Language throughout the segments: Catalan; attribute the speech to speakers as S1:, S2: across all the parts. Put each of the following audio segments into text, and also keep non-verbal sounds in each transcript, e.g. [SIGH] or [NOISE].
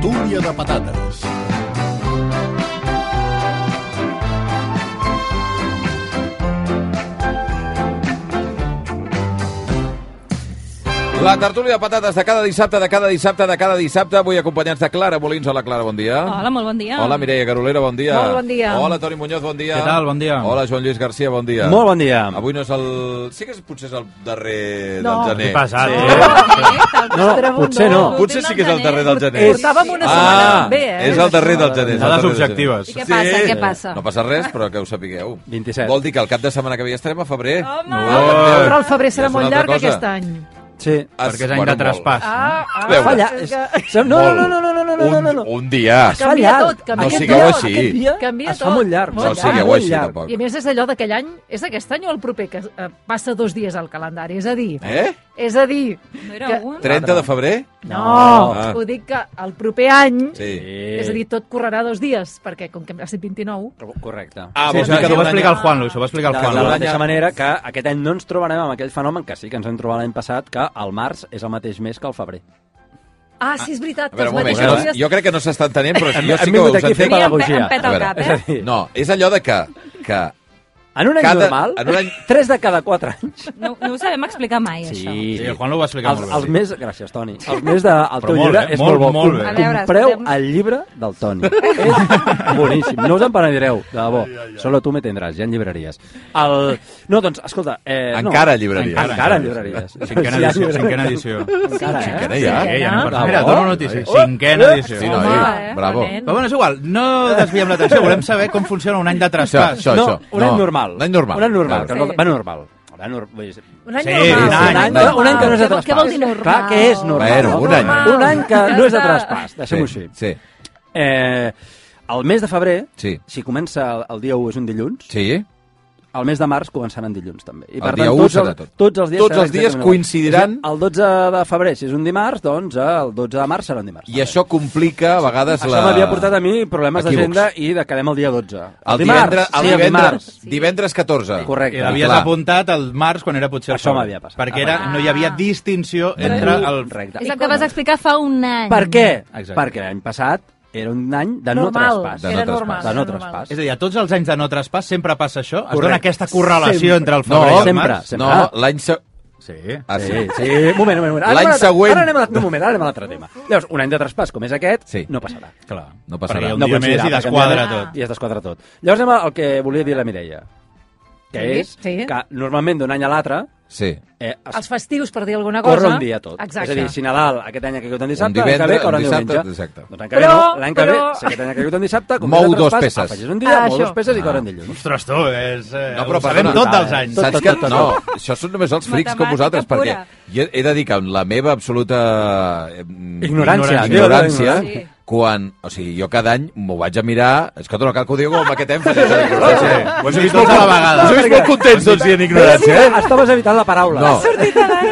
S1: tortilla de patates.
S2: La tertúlia de patates de cada dissabte, de cada dissabte, de cada dissabte. Avui acompanyats de Clara Molins. Hola, Clara, bon dia.
S3: Hola, molt bon dia.
S2: Hola, Mireia Garolera, bon dia.
S3: Molt bon dia.
S2: Hola, Toni Muñoz, bon dia.
S4: Què tal? Bon dia.
S2: Hola, Joan Lluís Garcia, bon dia.
S4: Molt bon dia.
S2: Avui no és el... Sí que és, potser és el darrer
S5: No.
S2: del gener.
S4: Què passa,
S2: Sí.
S4: tio? No, no, potser no.
S2: Potser sí que és el darrer del gener.
S5: Portàvem una
S2: Ah,
S5: setmana bé, eh?
S2: és el darrer del gener. és el
S4: Dades
S2: darrer del gener.
S4: objectives. I
S5: què passa, què passa?
S2: No passa res, però que ho sapigueu.
S4: 27.
S2: Vol dir que el cap de setmana que ve ja estarem a febrer.
S3: Home!
S2: Ui.
S5: Però el febrer
S2: Ja
S5: serà
S2: és
S5: molt
S2: una altra
S5: llarg
S2: cosa.
S5: aquest any.
S4: Sí.
S2: Es-
S4: Perquè és any
S2: bueno,
S4: de traspàs.
S5: Ah, ah,
S2: Veure.
S5: falla.
S2: Falla.
S5: És
S4: No,
S5: que...
S4: no, no, no, no, no, no, no, no, no.
S2: Un, un dia.
S5: Canvia
S4: llarg.
S5: tot, canvia
S2: No
S5: tot.
S2: sigueu així.
S4: Aquest dia
S5: Canvia
S4: es fa
S5: tot.
S4: molt llarg.
S5: Molt
S2: No
S5: llarg.
S2: sigueu
S4: Molt
S2: així,
S4: llarg.
S2: tampoc.
S5: I a més és allò d'aquell any, és aquest any o el proper, que eh, passa dos dies al calendari, és a dir...
S2: Eh?
S5: És a dir...
S3: No era
S5: Que-
S3: un?
S2: 30 de febrer?
S5: No,
S2: Ah.
S5: ho dic que el proper any,
S2: Sí.
S5: és a dir, tot correrà dos dies, perquè com que ha estat 29,
S6: Correcte.
S2: Ah,
S4: Sí,
S2: vols dir
S4: això això
S2: que
S4: ho
S2: d'un
S4: va
S2: any
S4: explicar el Juanlu, això ho va explicar el
S6: De, de
S4: Juanlu.
S6: la mateixa Doncs manera que aquest any no ens trobarem amb aquell fenomen que sí que ens hem trobat l'any passat, que el març és el mateix mes que el febrer.
S5: Ah, sí, és veritat.
S2: A veure, un
S5: que
S2: moment,
S5: els mateixos
S2: que no,
S5: dies...
S2: jo crec que no s'està entenent, però
S6: Hem-
S2: jo sí
S6: hem
S2: que
S6: vingut
S2: us
S6: aquí a fer
S2: entenc.
S3: Mira, em, pe-
S6: pedagogia.
S3: em peta
S2: A
S3: el
S2: veure,
S3: cap,
S6: És
S3: eh?
S6: a dir,
S2: No, és allò de que, que
S6: en un any
S2: Cada-
S6: normal,
S2: en un any-
S6: 3 de cada 4 anys...
S3: No, no ho sabem explicar mai, això.
S4: Sí, el Juanlu ho va explicar
S6: els,
S4: molt
S6: els
S4: bé.
S6: més... Gràcies, Toni. Els més del de, el
S4: Però
S6: teu
S4: molt,
S6: llibre
S4: eh?
S6: és
S4: Molt,
S6: molt, bo.
S4: molt bé.
S3: A veure,
S6: Compreu
S3: escoltem.
S6: el llibre del
S3: [LAUGHS]
S6: Toni. és boníssim. No us en penedireu, de debò. Solo tu me tindràs, ja en llibreries. El... No, doncs, escolta... Eh, no.
S2: Encara llibreries.
S6: Encara, encara en llibreries.
S4: Cinquena
S6: Ja
S4: edició,
S6: llibreries.
S4: cinquena edició.
S6: Encara, eh?
S2: que no hi ha.
S4: Eh, ja anem per...
S6: Ah,
S4: Mira,
S6: bo.
S4: dono notícia. Cinquena edició.
S2: Sí, noi,
S3: Home, eh?
S2: bravo.
S3: Valent.
S4: Però bueno, és igual, no desviem l'atenció, volem saber com funciona un any de
S2: Això,
S4: traspàs.
S2: això,
S6: no,
S2: això.
S6: un any normal.
S2: Un any normal.
S6: Un any normal.
S2: Clar.
S6: Que no, va normal. Va normal. Vull dir,
S5: Un any
S4: Sí,
S5: normal.
S4: un any,
S6: un any, un any que no és de
S3: Què vol-
S6: traspàs.
S3: Què vol dir normal?
S6: Clar que és normal.
S2: Bueno, un any.
S6: Un any que
S3: Ja
S6: no és de
S3: està.
S6: traspàs, deixem-ho
S2: sí,
S6: així.
S2: Sí,
S6: Eh, el mes de febrer,
S2: Sí.
S6: si comença el, el dia 1 és un dilluns,
S2: sí.
S6: el mes de març començaran dilluns també. I,
S2: El dia 1
S6: tots,
S2: serà
S6: el-
S2: tot.
S6: tots els dies,
S2: Tots
S6: seran
S2: els dies
S6: exactament igual.
S2: coincidiran-
S6: És a dir, El 12 de febrer, si és un dimarts, doncs eh, el 12 de març serà un dimarts.
S2: I això complica a vegades
S6: Això
S2: la...
S6: m'havia portat a mi problemes
S2: Equívocs.
S6: d'agenda i de quedem el dia 12.
S2: El divendres, el
S6: sí, el
S2: divendres,
S6: dimarts.
S2: divendres 14.
S6: Correcte.
S4: I l'havies
S2: Clar.
S4: apuntat al març quan era potser el
S6: Això
S4: febrer.
S6: m'havia passat. Ah.
S4: Perquè era, no hi havia distinció entre el...
S6: Correcte.
S3: És el que vas explicar fa un any.
S6: Per què?
S4: Exacte.
S6: Perquè l'any passat era un any de no
S5: Normal,
S6: traspàs.
S5: era
S2: De no
S5: normal.
S2: traspàs.
S6: De no
S5: era normal.
S6: traspàs.
S4: És a dir, a tots els anys de no traspàs sempre passa això? Es
S6: Correcte.
S4: dona aquesta correlació
S6: Sempre.
S4: entre el
S2: No,
S4: febrer i el
S6: sempre.
S4: març?
S2: no l'any... Se...
S4: Sí.
S2: Ah, sí.
S6: Sí, sí. Un moment, un moment. Ara
S2: L'any
S6: anem a l'altre-
S2: següent.
S6: Ara anem a l'altre- un moment, ara anem a l'altre tema. Llavors, un any de traspàs com és aquest,
S2: Sí.
S6: no passarà.
S4: Clar.
S2: No
S4: Perquè
S2: passarà.
S4: hi ha un
S6: no
S4: dia
S6: coincidirà,
S4: més i
S6: perquè
S4: desquadra
S6: anem a-
S4: tot.
S6: I es desquadra tot. Llavors anem al que volia dir la Mireia, que
S5: Sí,
S6: és
S5: sí.
S6: que normalment d'un any a l'altre
S2: Sí.
S6: eh, es
S5: Els festius, per dir alguna cosa...
S6: corre un dia tot.
S5: Exacte.
S6: És a dir, si Nadal aquest any ha caigut en dissabte,
S2: Un
S6: l'any que
S2: divendres,
S6: ve
S2: un
S6: caurà en
S2: dissabte,
S6: diumenge.
S2: exacte.
S6: Doncs l'any que ve
S5: Però,
S6: no, l'any que ve,
S5: però-
S6: si aquest any ha caigut en dissabte, com
S2: Mou
S6: que
S2: dos
S6: traspàs,
S2: peces.
S6: Afegeix un dia,
S5: Ah,
S6: mou
S5: això.
S6: dos peces i caurà en dilluns.
S4: Ostres, tu, és... Eh,
S2: No,
S4: ho sabem
S2: perdona,
S4: tot dels anys.
S2: Saps que,
S6: Tot, tot,
S2: no,
S6: tot,
S2: això són només els frics com
S3: Matemàtica
S2: vosaltres, perquè
S3: pura.
S2: jo he de dir que amb la meva absoluta eh,
S6: Ignorància.
S2: ignorància
S6: Sí.
S2: quan, o sigui, jo cada any m'ho vaig a mirar, és que no cal que ho digui amb aquest èmfasi. Sí, sí.
S4: Ho hem vist tots a la vegada.
S2: Us he vist molt contents, doncs, i en ignorància, eh?
S6: Estaves evitant la paraula.
S2: No.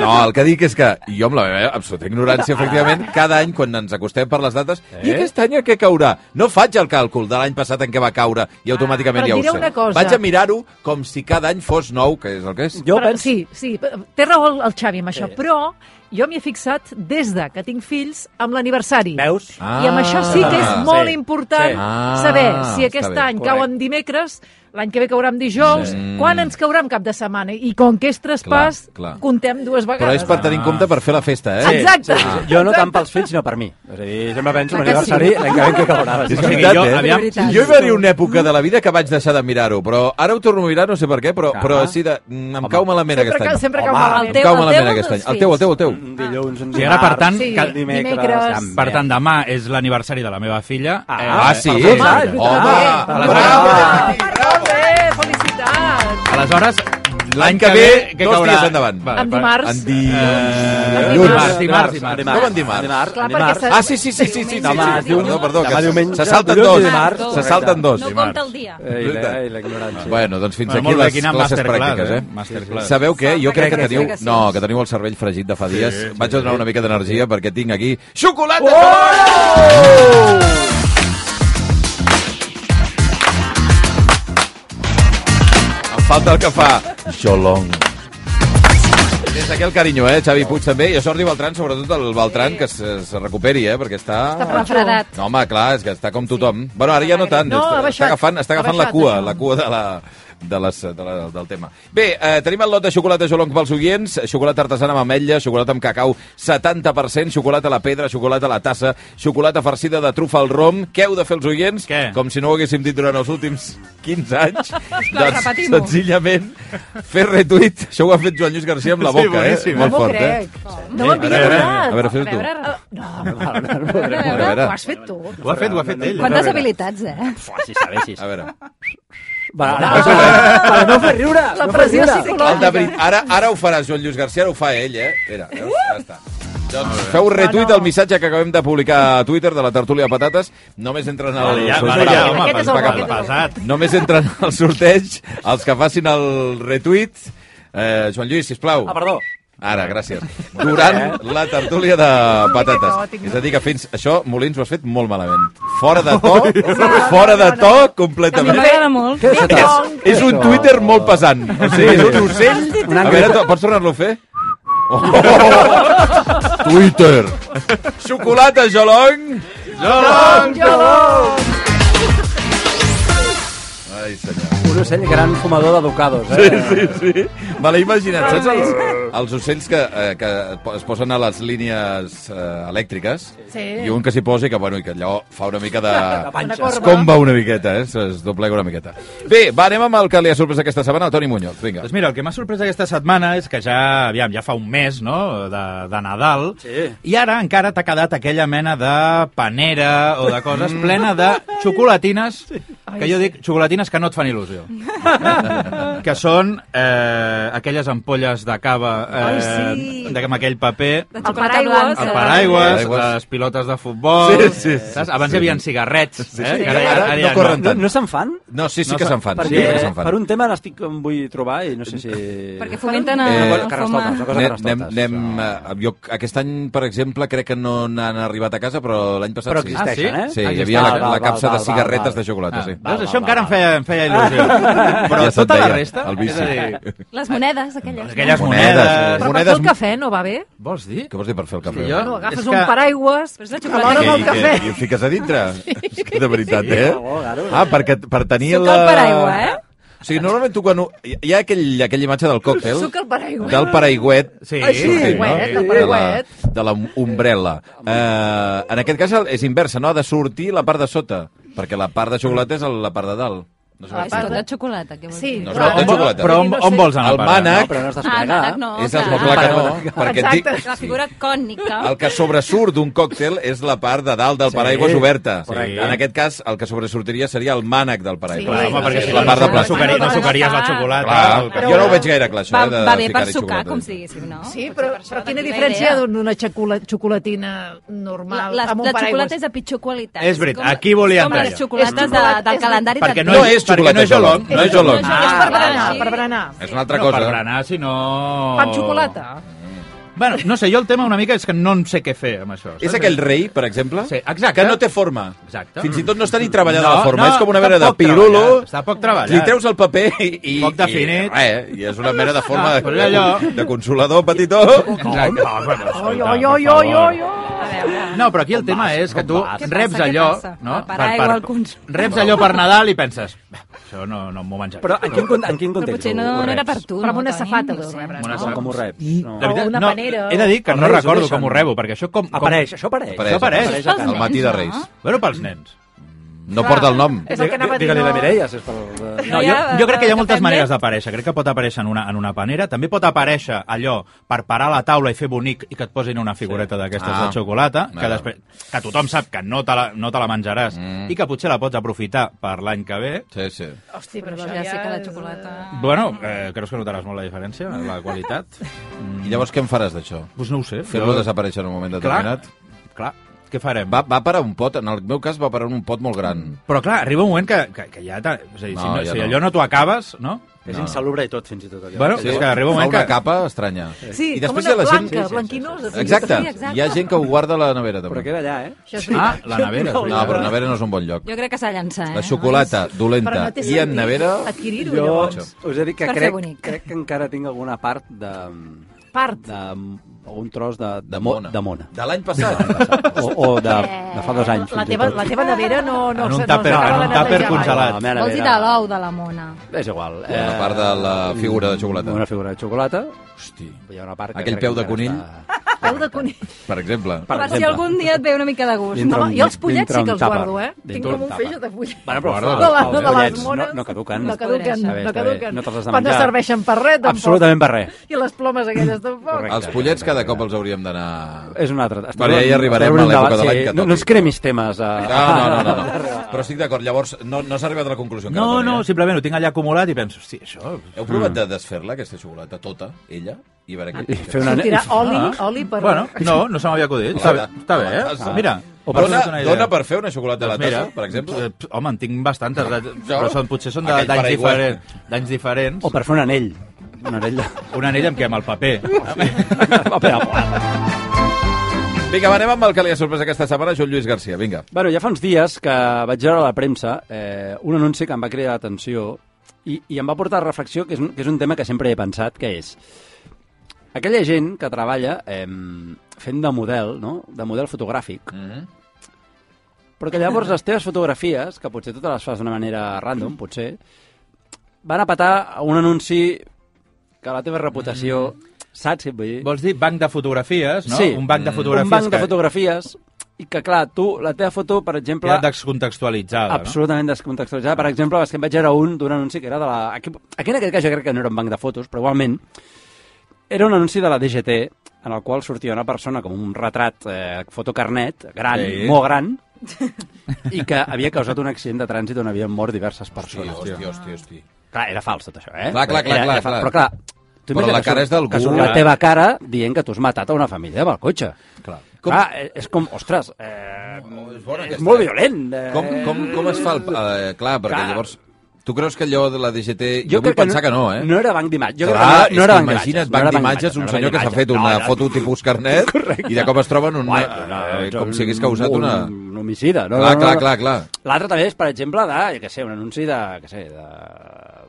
S2: no, el que dic és que jo amb la meva absoluta ignorància, efectivament,
S5: Ah.
S2: cada any quan ens acostem per les dates, eh? i aquest any a què caurà? No faig el càlcul de l'any passat en què va caure i automàticament
S5: Ah, però
S2: ja ho
S5: diré
S2: sé.
S5: una cosa.
S2: Vaig a mirar-ho com si cada any fos nou, que és el que és.
S6: Jo
S5: però,
S6: penso...
S5: Sí, sí, té raó el, el Xavi amb això, però jo m'hi he fixat des de que tinc fills amb l'aniversari.
S6: Veus?
S5: I amb això sí que és
S2: Ah,
S5: molt
S6: sí,
S5: important
S6: sí.
S2: Ah,
S5: saber si
S2: està
S5: aquest
S2: bé,
S5: any cau
S6: correcte.
S5: en dimecres, l'any que ve caurà en dijous, quan ens caurà en cap de setmana. I com que és traspàs,
S2: Clar, clar.
S5: contem dues
S2: Però
S5: vegades.
S2: és per tenir en compte per fer la festa, eh?
S5: Exacte.
S6: Jo no tant pels fills, sinó per mi. És a dir, sempre penso en
S5: Clar que sí.
S6: l'aniversari l'any que ve que
S2: És
S6: caurà.
S4: O sigui,
S2: veritat,
S4: jo,
S2: eh?
S4: aviam,
S2: Jo hi va haver una època de la vida que vaig deixar de mirar-ho, però ara ho torno a mirar, no sé per què,
S4: Ah.
S2: però, però sí, de, mm, em cau malament
S5: Sempre,
S2: aquest
S5: cau-
S2: any.
S5: sempre cau
S2: Em
S6: Home,
S5: malament.
S3: teu,
S2: cau
S3: el
S2: malament
S3: teu o
S2: aquest any. El
S3: dels
S2: teu, el teu, el teu.
S6: Un dilluns, un
S4: Sí, ara, per tant,
S5: Sí,
S4: que-
S5: dimecres.
S6: Dimecres.
S4: Per tant, demà és l'aniversari de la meva filla. Eh,
S6: Ah,
S2: sí?
S4: per
S2: Home,
S4: tant,
S2: és veritat.
S4: Home,
S2: Home,
S4: aleshores-
S5: Molt bé, felicitats.
S4: Aleshores, l'any
S2: L'any que
S4: que ve...
S2: ve,
S4: què
S2: dos
S4: caurà?
S2: dies endavant.
S4: Vale,
S5: En
S4: per-
S5: dimarts.
S2: En dilluns.
S4: Eh,
S5: Dimarts,
S4: dimarts, dimarts, dimarts.
S2: Com en dimarts?
S6: Dimarts,
S5: Clar,
S6: en
S5: perquè
S6: dimarts.
S5: s'ha-
S2: Ah, sí, sí, sí, sí, sí, sí, sí.
S6: Demà
S2: Perdó, perdó,
S6: Demà
S2: que
S6: diumenge,
S2: se salten
S6: dilluns i
S2: dos.
S6: dimarts.
S2: Se salten dos.
S3: No compta el dia.
S6: Ei, Eh, la, ei, la ignorància. [LAUGHS]
S2: Bueno, doncs fins
S4: Bueno,
S2: aquí
S4: molt bé,
S2: les
S4: quina
S2: classes
S4: masterclass,
S2: pràctiques, eh?
S4: eh? Masterclass.
S2: Sabeu què? Jo crec que
S6: Crec que
S2: teniu...
S6: sí, que sí.
S2: No, que teniu el cervell fregit de fa dies. Vaig a donar una mica d'energia perquè tinc aquí... Xocolata!
S4: Oh!
S2: Em falta el que fa... Xolong. Des d'aquí el carinyo, eh, Xavi Puig també, i a Jordi Beltran, sobretot el Beltran, que se, se recuperi, eh, perquè està...
S5: Està
S3: Refredat.
S2: No, home, clar, és que està com tothom. Bueno, ara ja no tant,
S5: No, ha
S2: està, està
S5: baixat.
S2: agafant, està
S5: Ha
S2: agafant la
S5: baixat,
S2: cua,
S5: això.
S2: la cua de la, de les, de la, del tema. Bé, eh, tenim el lot de xocolata Jolong pels oients, xocolata artesana amb ametlla, xocolata amb cacau 70%, xocolata a la pedra, xocolata a la tassa, xocolata farcida de trufa al rom. Què heu de fer els oients?
S4: Què?
S2: Com si no ho haguéssim dit durant els últims 15
S5: [LAUGHS]
S2: anys. Doncs,
S3: repetim-ho.
S2: senzillament, fer retuit. Això ho ha fet Joan Lluís García amb la
S4: Sí,
S2: boca, eh?
S4: boníssim,
S2: Molt
S5: No m'ho
S2: fort, eh?
S5: crec. No m'ho
S2: A
S5: havia
S2: veure,
S5: donat.
S2: a veure, fes-ho
S3: A
S2: tu.
S3: veure,
S5: Ah, No, no, no,
S3: a
S5: [LAUGHS]
S3: veure,
S2: A
S3: a
S2: veure.
S3: veure.
S5: ho has fet tu.
S4: Ho ha fet, ho ha fet ell.
S3: Quantes habilitats, eh?
S6: Fua, si sabessis.
S2: A veure.
S6: Va, ara,
S2: eh?
S6: ara, no fer riure.
S5: La
S6: no fer
S5: pressió
S2: El
S6: riure.
S2: de
S5: psicològica.
S2: veri- ara, ara ho farà Joan Lluís García, ara ho fa ell, eh? Espera,
S5: Uh!
S2: veus? ja està. Doncs feu retuit
S5: no.
S2: al missatge que acabem de publicar a Twitter de la tertúlia de patates. Només entren al
S4: Vale, ja,
S2: sorteig.
S4: vale, ja, home,
S5: Aquest és el
S2: impecable.
S5: bo, aquest és
S4: el
S2: Només entren al sorteig els que facin el retuit. Eh, Joan Lluís, sisplau.
S6: Ah, perdó.
S2: Ara, gràcies. Durant
S5: Eh?
S2: la tertúlia de patates. És a dir, que fins això, Molins, ho has fet molt malament. Fora de to, fora de to,
S3: A mi
S2: completament.
S3: m'agrada molt.
S6: Què és això?
S5: Ding-dong.
S2: És un Twitter molt pesant. O sigui, és un ocell...
S6: Una
S2: A veure,
S6: engreixada.
S2: to- pots tornar-lo a fer? Oh! Twitter. Xocolata Jolong. Jolong. Ai, senyor.
S6: Un ocell gran fumador d'educados, eh?
S2: Sí, sí. Me l'he imaginat. Saps els, els ocells que, eh, que po- es posen a les línies eh, elèctriques?
S5: Sí.
S2: I un que s'hi posa i que, bueno, i que allò fa una mica de...
S5: Una
S6: panxa.
S5: corba.
S2: Es comba una miqueta, eh? Es doblega una miqueta. Bé, va, anem amb el que li ha sorprès aquesta setmana, el Toni Muñoz. Vinga.
S4: Doncs mira, el que m'ha sorprès aquesta setmana és que ja, aviam, ja fa un mes, no?, de, de Nadal,
S6: Sí.
S4: i ara encara t'ha quedat aquella mena de panera o de
S2: Mm.
S4: coses plena de xocolatines, que jo dic xocolatines que no et fan il·lusió. [LAUGHS] que són eh, aquelles ampolles de cava eh,
S5: Ai, sí.
S4: de, amb aquell paper...
S3: De
S5: El
S3: xocolata
S5: paraigües.
S3: blanca.
S4: El
S5: Sí.
S4: paraigües,
S2: Paraigües.
S4: les pilotes de futbol...
S2: Sí, sí, sí,
S4: saps? Abans
S2: sí.
S4: hi havia cigarrets, eh? que
S2: Ara- ara
S4: ja
S2: no corren
S6: No, no se'n fan?
S2: No, sí, sí
S4: No
S2: que
S4: fa-
S2: se'n fan. Sí,
S6: Perquè,
S2: sí que se'n fan.
S6: per un tema n'estic que em vull trobar i no sé si...
S3: Perquè fomenten a...
S2: Eh,
S3: a fumar.
S6: Carnestoltes, una cosa
S2: Anem, anem,
S6: carnestoltes.
S2: anem, eh, jo aquest any, per exemple, crec que no n'han arribat a casa, però l'any passat
S6: Però
S2: sí.
S4: existe-
S6: existeixen,
S4: Ah,
S6: eh?
S2: Sí, hi
S6: Existeix.
S2: havia la,
S6: Val, val,
S2: la capsa
S6: val,
S2: de
S6: val,
S2: cigaretes
S6: val.
S2: de xocolata, sí.
S6: va,
S4: Veus,
S6: va,
S4: això
S6: va,
S4: encara
S6: va.
S4: em feia, em feia il·lusió. Però
S2: se't
S4: tota la
S2: veia,
S4: resta...
S2: el vici.
S4: és a dir,
S3: Les monedes, aquelles.
S4: Aquelles
S2: Monedes,
S4: monedes...
S2: eh?
S5: Però per
S2: Monedes-
S5: fer el cafè no va bé?
S4: Vols dir?
S2: Què vols dir per fer el cafè?
S4: jo-
S5: No, agafes
S4: És
S5: un
S4: que-
S5: paraigües...
S3: Però és la
S5: A l'hora
S3: xocolata.
S5: del
S2: I,
S5: cafè.
S2: i, I ho fiques a dintre? És que de veritat,
S6: [LAUGHS] Sí,
S2: eh?
S6: per favor, ara.
S2: Ah, perquè, per tenir
S3: Suca
S2: la...
S3: el paraigua, eh?
S2: O sigui, normalment tu quan... ho- Hi hi ha aquell, aquella imatge del còctel...
S5: Suca el paraigües.
S2: Del paraigüet.
S4: Sí.
S5: Ah, sí,
S2: sortint,
S5: paraigüet,
S2: no?
S5: del paraigüet.
S2: De la, de la umbrella. Eh, en aquest cas és inversa, no? Ha de sortir la part de sota, perquè la part de xocolata és la part de dalt. No sé
S3: Ah, és tot de xocolata, què vols
S5: Sí.
S3: dir?
S2: No,
S5: clar.
S2: no, no,
S4: Però,
S2: xocolata.
S4: però on, on vols anar?
S2: El
S4: a parar?
S2: mànec-
S6: No, però no es
S3: Ah, el
S6: desplega.
S3: mànec no,
S2: és el
S3: clar. Ah,
S2: clar que no, perquè et dic,
S5: Exacte.
S3: La figura cònica.
S2: el que sobresurt d'un còctel és la part de dalt del paraigua és oberta.
S6: correcte.
S2: En aquest cas, el que sobresortiria seria el mànec del paraigua.
S4: Clar, home, perquè
S2: Sí,
S4: si
S2: la
S4: no,
S2: part de
S4: no,
S2: plàstic.
S4: sucaria- no
S3: Clar.
S4: sucaries la xocolata.
S2: Clar,
S4: el cafè.
S2: jo no ho veig gaire clar, això,
S3: Va,
S2: eh, de
S3: va bé per
S2: ficar-hi
S3: sucar,
S2: xocolata.
S3: com si diguéssim, no?
S5: Sí,
S3: Potser
S5: però,
S3: per això
S5: però quina
S3: d'aquí la
S5: diferència
S3: idea.
S5: d'una xocula- xocolatina
S3: La,
S5: normal
S3: la,
S5: amb un Ah,
S3: la
S5: paraigües?
S3: xocolata és de pitjor qualitat.
S4: És veritat, aquí volia
S3: Com
S4: entrar
S3: les
S4: jo.
S5: És
S3: xocolates de,
S5: xocolata,
S3: del
S5: és
S3: calendari
S4: Perquè
S3: de
S4: no
S2: No
S4: és-
S2: és
S4: perquè no és
S2: xocolata, Jolong.
S4: Jolong.
S2: No és Jolong.
S3: No és
S5: Ah,
S3: És
S5: per
S3: per
S5: berenar,
S3: berenar.
S5: per berenar.
S2: És una altra
S4: No, per
S2: cosa.
S4: berenar, si no...
S5: Pa amb xocolata.
S4: Bueno, no sé, jo el tema una mica és que no en sé què fer amb això. saps?
S2: És aquell rei, per exemple,
S4: Sí, exacte.
S2: que no té forma.
S4: Exacte.
S2: Fins i tot no està ni treballada
S4: No,
S2: la forma.
S4: no,
S2: és com una
S4: està
S2: mena de
S4: poc
S2: pirulo.
S4: treballat, està poc treballat.
S2: Li treus el paper i... i
S4: Poc definit.
S2: I, eh, I és una mera de forma
S4: No, però
S2: de,
S4: és allò.
S2: de consolador petitó.
S4: Exacte. No, bueno,
S5: Oi,
S4: escolta,
S5: oi,
S4: per
S5: oi, oi,
S4: favor.
S5: oi, oi.
S3: A veure,
S4: No, però aquí el tema és que tu
S3: Què
S4: reps
S3: passa, què
S4: allò,
S3: passa?
S4: no?
S3: El paraigua, el cons-
S4: reps allò per Nadal i penses, això no, no m'ho menjaré.
S6: Però en quin, con- en quin
S3: però
S6: context?
S3: potser no,
S6: ho
S3: no era
S6: reps?
S3: per tu.
S5: Però amb
S3: no,
S5: una
S3: Toni?
S5: safata
S3: No
S5: ho
S3: sé.
S5: reps,
S4: Una
S5: no?
S4: safata.
S6: Com ho reps? No.
S4: De veritat,
S5: O una
S4: no,
S5: panera.
S4: He de dir que
S6: Els
S4: no
S6: Reis ho
S4: recordo
S6: deixen.
S4: com ho rebo, perquè això com... com...
S6: Apareix, això apareix.
S2: Apareix,
S4: apareix.
S6: apareix a
S3: Els
S2: El
S6: casa.
S3: nens,
S2: matí de
S3: no?
S2: Reis.
S4: Bueno, pels nens.
S2: No porta el nom.
S5: És el que anava a dir,
S6: Digue-li
S5: no?
S6: la Mireia, si és per...
S4: No,
S3: Hi
S4: jo,
S3: ha-
S4: jo crec que hi ha
S3: depèn
S4: moltes
S3: de-
S4: maneres d'aparèixer. Crec que pot aparèixer en una, en una panera. També pot aparèixer allò per parar la taula i fer bonic i que et posin una figureta d'aquestes
S2: Ah.
S4: de xocolata, que,
S2: Bueno.
S4: després, que tothom sap que no te la, no te la menjaràs i que potser la pots aprofitar per l'any que ve.
S2: Sí, sí.
S5: Hosti,
S3: Però
S5: però
S3: ja sé que la
S5: és-
S3: xocolata...
S4: Bueno, eh, creus que notaràs molt la diferència, la [LAUGHS] qualitat?
S2: I llavors què en faràs d'això?
S4: Doncs no ho sé.
S2: Fer-lo desaparèixer en un moment
S4: Clar,
S2: determinat?
S4: clar. Què farem?
S2: Va, va parar un pot, en el meu cas va parar un pot molt gran.
S4: Però clar, arriba un moment que, que, que ja... ta- O sigui, no, si,
S2: No,
S4: no,
S2: ja
S4: si
S2: no.
S4: allò no t'ho acabes, no?
S6: És insalubre i tot, fins i tot. allò.
S4: Bueno,
S6: Sí,
S4: és que arriba un
S2: Fa
S4: moment
S2: una
S4: que...
S2: capa estranya.
S5: Sí,
S2: I després
S5: com
S2: hi ha
S5: una
S2: la gent...
S5: blanca, blanquinosa. sí,
S2: Exacte.
S3: Sí, exacte.
S2: Hi ha gent que ho guarda a la nevera, també.
S6: Però queda allà, eh?
S5: Això és
S4: Ah,
S5: veritat.
S4: la nevera. és
S2: No,
S4: veritat.
S2: però nevera no és un bon lloc.
S3: Jo crec que s'ha llançat, eh?
S2: La xocolata
S5: Però
S2: dolenta
S5: no té
S2: i en
S5: sentit
S2: nevera...
S5: Adquirir-ho,
S6: Jo
S5: llavors.
S6: us he dit que
S3: Per fer
S6: crec,
S3: bonic.
S6: crec que encara tinc alguna part de...
S5: Part.
S6: de, o un tros de, de,
S2: De
S6: mo,
S2: Mona.
S6: de mona.
S2: De l'any passat.
S6: O, o de, de fa dos anys.
S5: La
S6: fins i
S5: teva,
S6: tot.
S5: la teva nevera no, no,
S4: En un
S5: se- no
S4: tàper-
S5: s'acaba
S4: en
S5: de
S4: un
S5: netejar
S4: tàper
S5: mai.
S4: congelat.
S6: La meva
S3: Vols dir
S6: nevera-
S3: de l'ou de la mona.
S6: És igual. eh,
S2: Una part de la figura de xocolata.
S6: Una figura de xocolata.
S2: Hosti.
S6: Hi ha una part que
S2: Aquell
S6: crec
S2: peu de
S6: encara
S2: conill.
S6: Està...
S5: Peu de conill.
S2: Per exemple.
S6: Per
S3: Per, per si
S6: exemple.
S3: algun dia et ve una mica de gust.
S6: Dintre
S3: no?
S5: Home,
S6: un-
S5: jo els pollets
S6: dintre
S5: sí que
S6: un
S5: els
S6: tàper.
S5: guardo, eh? Tinc
S6: Dintre
S5: com
S6: un
S5: un
S6: tàper.
S5: feix de pollets.
S6: Bueno, però
S2: Guarda,
S6: els-
S5: de, la,
S6: els
S5: de les
S6: pollets
S5: mones.
S6: no, no caduquen.
S5: No caduquen,
S3: Està
S6: bé,
S5: no
S6: està bé.
S5: caduquen.
S6: No te'ls has de
S5: Quan no
S6: menjar.
S5: serveixen per res, tampoc.
S6: Absolutament per res.
S5: I les plomes aquelles tampoc.
S6: Correcte.
S2: Els pollets cada cop els hauríem d'anar...
S6: És un altre.
S2: Vale, ja hi arribarem
S6: estem en un
S2: a l'època
S6: debat,
S2: de l'any que
S6: No,
S2: toqui.
S6: no ens cremis temes. eh? A...
S2: No, no,
S6: [LAUGHS]
S2: no, no, no. Però estic d'acord. Llavors, no, no s'ha arribat a la conclusió encara,
S4: No,
S2: Toni,
S4: no,
S2: eh?
S4: simplement ho tinc allà acumulat i penso, hosti, això...
S2: Heu provat de desfer-la, aquesta xocolata, tota, ella? I a veure què...
S6: I fer una...
S5: Sortirà oli,
S4: Ah.
S5: oli per...
S4: Bueno, no, no se m'havia acudit. Està, bé, està bé, eh?
S2: Ah.
S4: Mira,
S2: O
S4: per
S2: dona,
S4: fer-te una idea. Doncs
S2: dona per fer una xocolata a la tassa, per exemple?
S4: eh, p- Home, en tinc bastantes, de, però són, potser són de-
S2: Aquell
S4: d'anys
S2: paraigua.
S4: diferents. D'anys diferents.
S6: O per fer un anell. Un anell de... [LAUGHS]
S4: Un anell amb què? Amb el paper.
S6: Paper a plat.
S2: Vinga, va, anem amb el que li ha sorprès aquesta setmana, Joan Lluís Garcia. Vinga.
S6: Bueno, ja fa uns dies que vaig veure a la premsa eh, un anunci que em va cridar l'atenció i, i em va portar a reflexió, que és, un, que és un tema que sempre he pensat, que és aquella gent que treballa eh, fent de model, no? de model fotogràfic,
S2: Mm -hmm.
S4: Mm-hmm.
S6: però que llavors les teves fotografies, que potser totes les fas d'una manera
S4: Mm.
S6: random, potser, van a petar a un anunci que la teva reputació... Saps què et vull dir?
S4: Mm-hmm. Vols dir banc de fotografies, no? Un banc de fotografies
S6: Mm. Un banc de
S4: que-
S6: fotografies i que, clar, tu, la teva foto, per exemple...
S4: que era descontextualitzada, no?
S6: absolutament descontextualitzada. Per exemple, és que em vaig veure un d'un anunci que era de la... Aquí, aquí en aquest cas jo crec que no era un banc de fotos, però igualment era un anunci de la DGT en el qual sortia una persona com un retrat eh, fotocarnet, gran,
S4: Sí.
S6: sí. molt gran, i que havia causat un accident de trànsit on havien mort diverses
S2: Hòstia,
S6: persones.
S2: hòstia, hòstia, hòstia.
S6: Clar, era fals tot això, eh?
S2: Clar, clar, clar,
S6: Era-
S2: clar,
S6: era fals.
S2: clar.
S6: Però clar,
S2: Però
S6: tu imagina
S2: la
S6: que
S2: cara
S6: surt-
S2: és d'algú, eh?
S6: Que surt
S2: clar.
S6: la teva cara dient que tu has matat a una família amb el cotxe.
S2: Clar. Com,
S6: Com... Clar, eh, és com, ostres, eh,
S2: és bona
S6: és
S2: aquesta,
S6: molt
S2: eh?
S6: violent. Eh,
S2: com, com, com es fa el... Eh, clar, perquè
S6: Clar.
S2: llavors... Tu creus que allò de la DGT... Jo, vull
S6: crec
S2: pensar que no, eh?
S6: No era banc d'imatges. Jo
S2: Clar,
S6: crec que no, no
S2: és
S6: era
S2: que
S6: banc d'imatges.
S2: imagina't,
S6: no era
S2: banc d'imatges, un
S6: no era
S2: senyor que s'ha
S6: d'imatges,
S2: fet
S6: no,
S2: una
S6: no,
S2: foto tipus carnet
S6: [LAUGHS]
S2: i de cop es troben una...
S6: no, no,
S2: eh,
S6: no,
S2: com
S6: un-
S2: si hagués causat
S6: un-
S2: una...
S6: Un homicida. No,
S2: Clar,
S6: no, no,
S2: clar,
S6: no.
S2: clar, clar.
S6: L'altre també és, per exemple, de, jo què sé, un anunci de, què sé, de,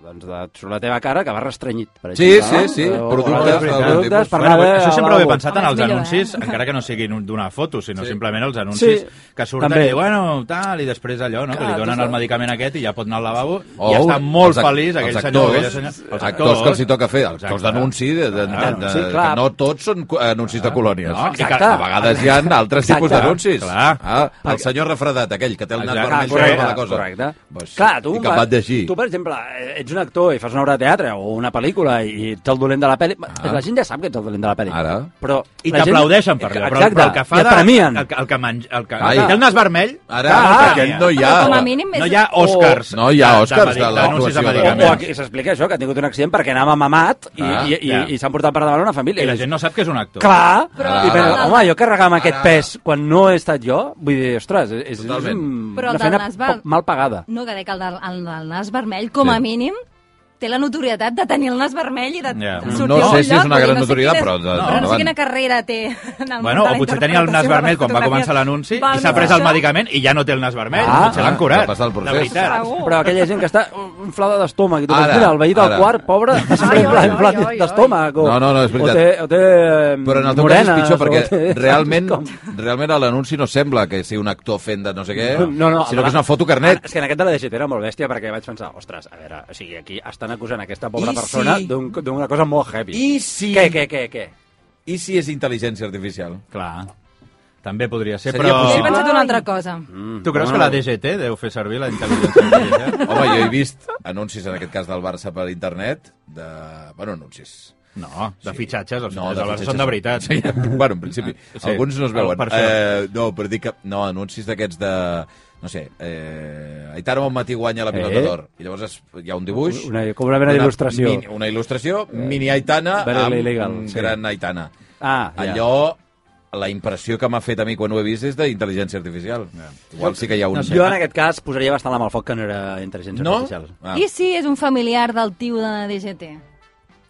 S6: doncs de sobre la teva cara que va restrenyit, per
S2: Sí,
S6: exemple.
S2: sí, sí,
S6: No?
S2: productes
S6: O- o-
S2: d'algun tipus.
S6: productes per
S4: Bueno,
S6: anar
S4: això sempre ho he pensat en
S3: Home,
S4: els
S6: eh?
S3: és millor,
S4: anuncis, encara que no siguin un- d'una foto, sinó
S2: Sí.
S4: simplement els anuncis
S6: Sí,
S4: que surten
S6: també.
S4: i diuen, bueno, tal, i després allò, no? que li
S6: Clar,
S4: donen
S6: tu
S4: el
S6: saps.
S4: medicament aquest i ja pot anar al lavabo
S2: O
S4: i està molt
S2: Oh, els ac-
S4: feliç aquell
S2: els
S4: senyor.
S2: actors,
S4: aquella senyora-
S2: els actors que els hi toca fer, els actors
S4: Exacte.
S2: d'anunci, de, de, de, de,
S6: sí,
S2: que
S6: clar. Ah,
S2: no tots són co- anuncis de colònies.
S4: No,
S2: I que
S6: exacte.
S2: a vegades hi ha altres tipus
S6: Exacte.
S2: d'anuncis.
S4: Clar.
S2: Ah, el senyor refredat, aquell que té el nas
S4: Exacte.
S2: vermell
S4: Correcte,
S2: sobre la cosa.
S6: Ah, Correcte.
S2: Pues,
S6: Clar, tu,
S2: I que et
S6: va-
S2: van llegir.
S6: tu, per exemple, eh, ets un actor i fas una obra de teatre o una pel·lícula i ets el dolent de la pel·li... Ah. La gent ja sap que ets el dolent de la pel·li.
S2: Ara.
S6: Però
S4: I
S6: la gent-
S4: t'aplaudeixen per allò, però,
S6: Exacte,
S4: però el que fa...
S6: i et
S4: de-
S6: premien.
S4: El, que- el que menja... El que,
S2: Ai.
S4: el que té el nas vermell...
S6: Ah,
S2: Ara,
S4: clar,
S2: perquè
S4: el
S2: no hi ha...
S3: Però com a mínim és...
S4: No hi ha Oscars.
S2: No hi ha Oscars de
S4: l'anuncis
S2: l'actuació de-
S4: de
S6: O, o
S4: medicaments.
S6: aquí s'explica això, que ha tingut un accident perquè anava mamat i,
S2: Ah,
S6: ah, i, i,
S4: ja.
S6: i s'han portat per davant una família.
S4: I la gent no sap que és un actor.
S6: Clar,
S3: Però-
S6: i pensa,
S3: Ara.
S6: home, jo carregava amb aquest
S2: Ara.
S6: pes quan no he estat jo, vull dir, ostres, és, és
S2: Totalment.
S6: un-
S3: Però el
S6: una
S3: del
S6: feina
S3: nas val.
S6: poc mal pagada.
S3: No, que dec el del, el del nas vermell, com
S2: Sí.
S3: a mínim, té la notorietat de tenir el nas vermell i de
S4: Ja.
S3: de sortir
S2: No
S3: a un
S2: sé si és
S3: lloc,
S2: una
S3: vull dir,
S2: gran
S3: no sé
S2: notorietat,
S3: quina-
S2: però de-
S3: Però no sé
S2: endavant.
S3: quina carrera té en el
S4: Bueno, o potser tenia el nas vermell quan va començar l'anunci i s'ha pres el medicament i ja no té el nas vermell,
S6: Ah,
S4: potser l'han
S2: ah,
S4: curat.
S2: va passar el procés.
S4: De veritat.
S3: Segur.
S6: Oh. Però aquella gent que està inflada d'estómac i tu
S2: Ara,
S6: penses, mira, el veí del
S2: ara.
S6: quart, pobre, està sempre
S5: Ai, ai,
S6: inflat,
S5: ai,
S6: inflat
S5: ai, ai.
S6: d'estómac. o-
S2: No, no, no, és veritat.
S6: O té, o té eh,
S2: Però en el teu
S6: morenes,
S2: cas és pitjor,
S6: o
S2: perquè
S6: té- [LAUGHS]
S2: realment,
S6: Com-
S2: realment a l'anunci no sembla que sigui un actor fent de eh, no sé què,
S6: No, no, Ah,
S2: sinó
S6: el-
S2: que és una foto carnet.
S6: És que en aquest de la DGT era molt bèstia perquè vaig pensar, ostres, a veure, o sigui, aquí estan acusant aquesta pobra
S2: I
S6: persona
S2: si-
S6: d'un- d'una cosa molt heavy.
S2: I si...
S6: Què, què, què, què?
S2: I si és intel·ligència artificial?
S4: Clar. També podria ser,
S2: Seria
S4: però...
S3: He
S2: possible?
S3: pensat una altra cosa.
S6: Mm,
S4: Tu creus que la DGT deu fer servir la intel·ligència [LAUGHS] artificial?
S2: Home, jo he vist anuncis, en aquest cas del Barça, per internet, de... Bueno, anuncis.
S4: No, de fitxatges, els, no,
S2: No,
S4: els,
S2: de
S4: els
S2: fitxatges.
S4: són de veritat. [LAUGHS]
S2: Sí, [LAUGHS] bueno, en
S6: [LAUGHS]
S2: principi.
S4: Sí.
S2: Alguns no es veuen.
S4: Per això.
S2: eh, no, però dic que... No, anuncis d'aquests de... No sé, eh, Aitano al matí guanya la pilota
S6: Eh?
S2: d'or. I llavors es, hi ha un dibuix...
S6: Una- com una mena d'il·lustració. Eh,
S2: Mini, una il·lustració, mini Aitana
S6: Very
S2: amb
S6: illegal, sí.
S2: gran Aitana.
S6: Ah, ja.
S2: Allò, la impressió que m'ha fet a mi quan ho he vist és d'intel·ligència artificial. Igual sí que hi ha un...
S6: Jo en aquest cas posaria bastant la mà al foc que no era intel·ligència
S2: No?
S6: artificial.
S2: Ah,
S3: I si és un familiar del tio de DGT?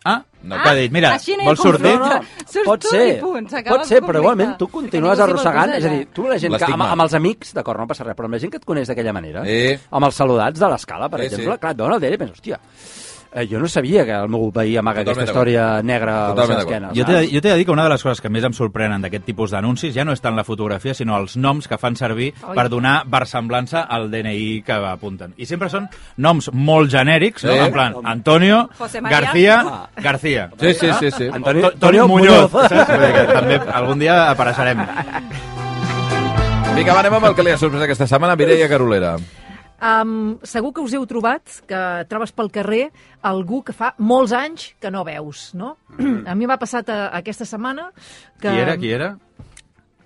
S4: Ah,
S2: no,
S4: no, ah, dit, mira,
S3: així no hi ha
S4: vols sortir?
S3: conflicte. Surts
S6: pot
S3: tu
S6: ser,
S3: i punt, s'acaba
S6: pot
S3: el
S6: ser,
S3: conflicte.
S6: però igualment tu
S3: Que
S6: continues
S3: ningú s'hi vol
S6: arrossegant,
S3: posar,
S6: és a dir,
S3: ja.
S6: tu la gent que, amb,
S2: L'estigma.
S6: amb els amics, d'acord, no passa res, Ah. però amb la gent que et coneix d'aquella manera,
S2: Eh.
S6: amb els saludats de l'escala, per
S2: Eh, sí.
S6: exemple, clar, et dona el dere i penses, hòstia, Eh, jo no sabia que el meu veí amaga
S2: Totalment
S6: aquesta història negra a la
S2: Totalment
S6: seva
S2: d'acord.
S6: esquena.
S4: Jo t'he de- jo t'he de dir que una de les coses que més em sorprenen d'aquest tipus d'anuncis ja no és tant la fotografia, sinó els noms que fan servir
S5: Oi.
S4: per donar versemblança al DNI que apunten. I sempre són noms molt genèrics, no?
S2: Sí.
S4: en plan Antonio,
S3: José María.
S4: García, García.
S2: Sí, sí, sí. sí.
S6: Antoni,
S4: To- Toni [LAUGHS] Muñoz,
S6: [LAUGHS]
S4: saps? Vull dir que també algun dia apareixerem.
S6: Ah.
S2: Vinga, va, anem amb el que li ha sorprès aquesta setmana, Mireia Carolera.
S5: Um, segur que us heu trobat, que trobes pel carrer algú que fa molts anys que no veus, no? A mi m'ha passat a, aquesta setmana que...
S4: Mm. Qui era, qui era?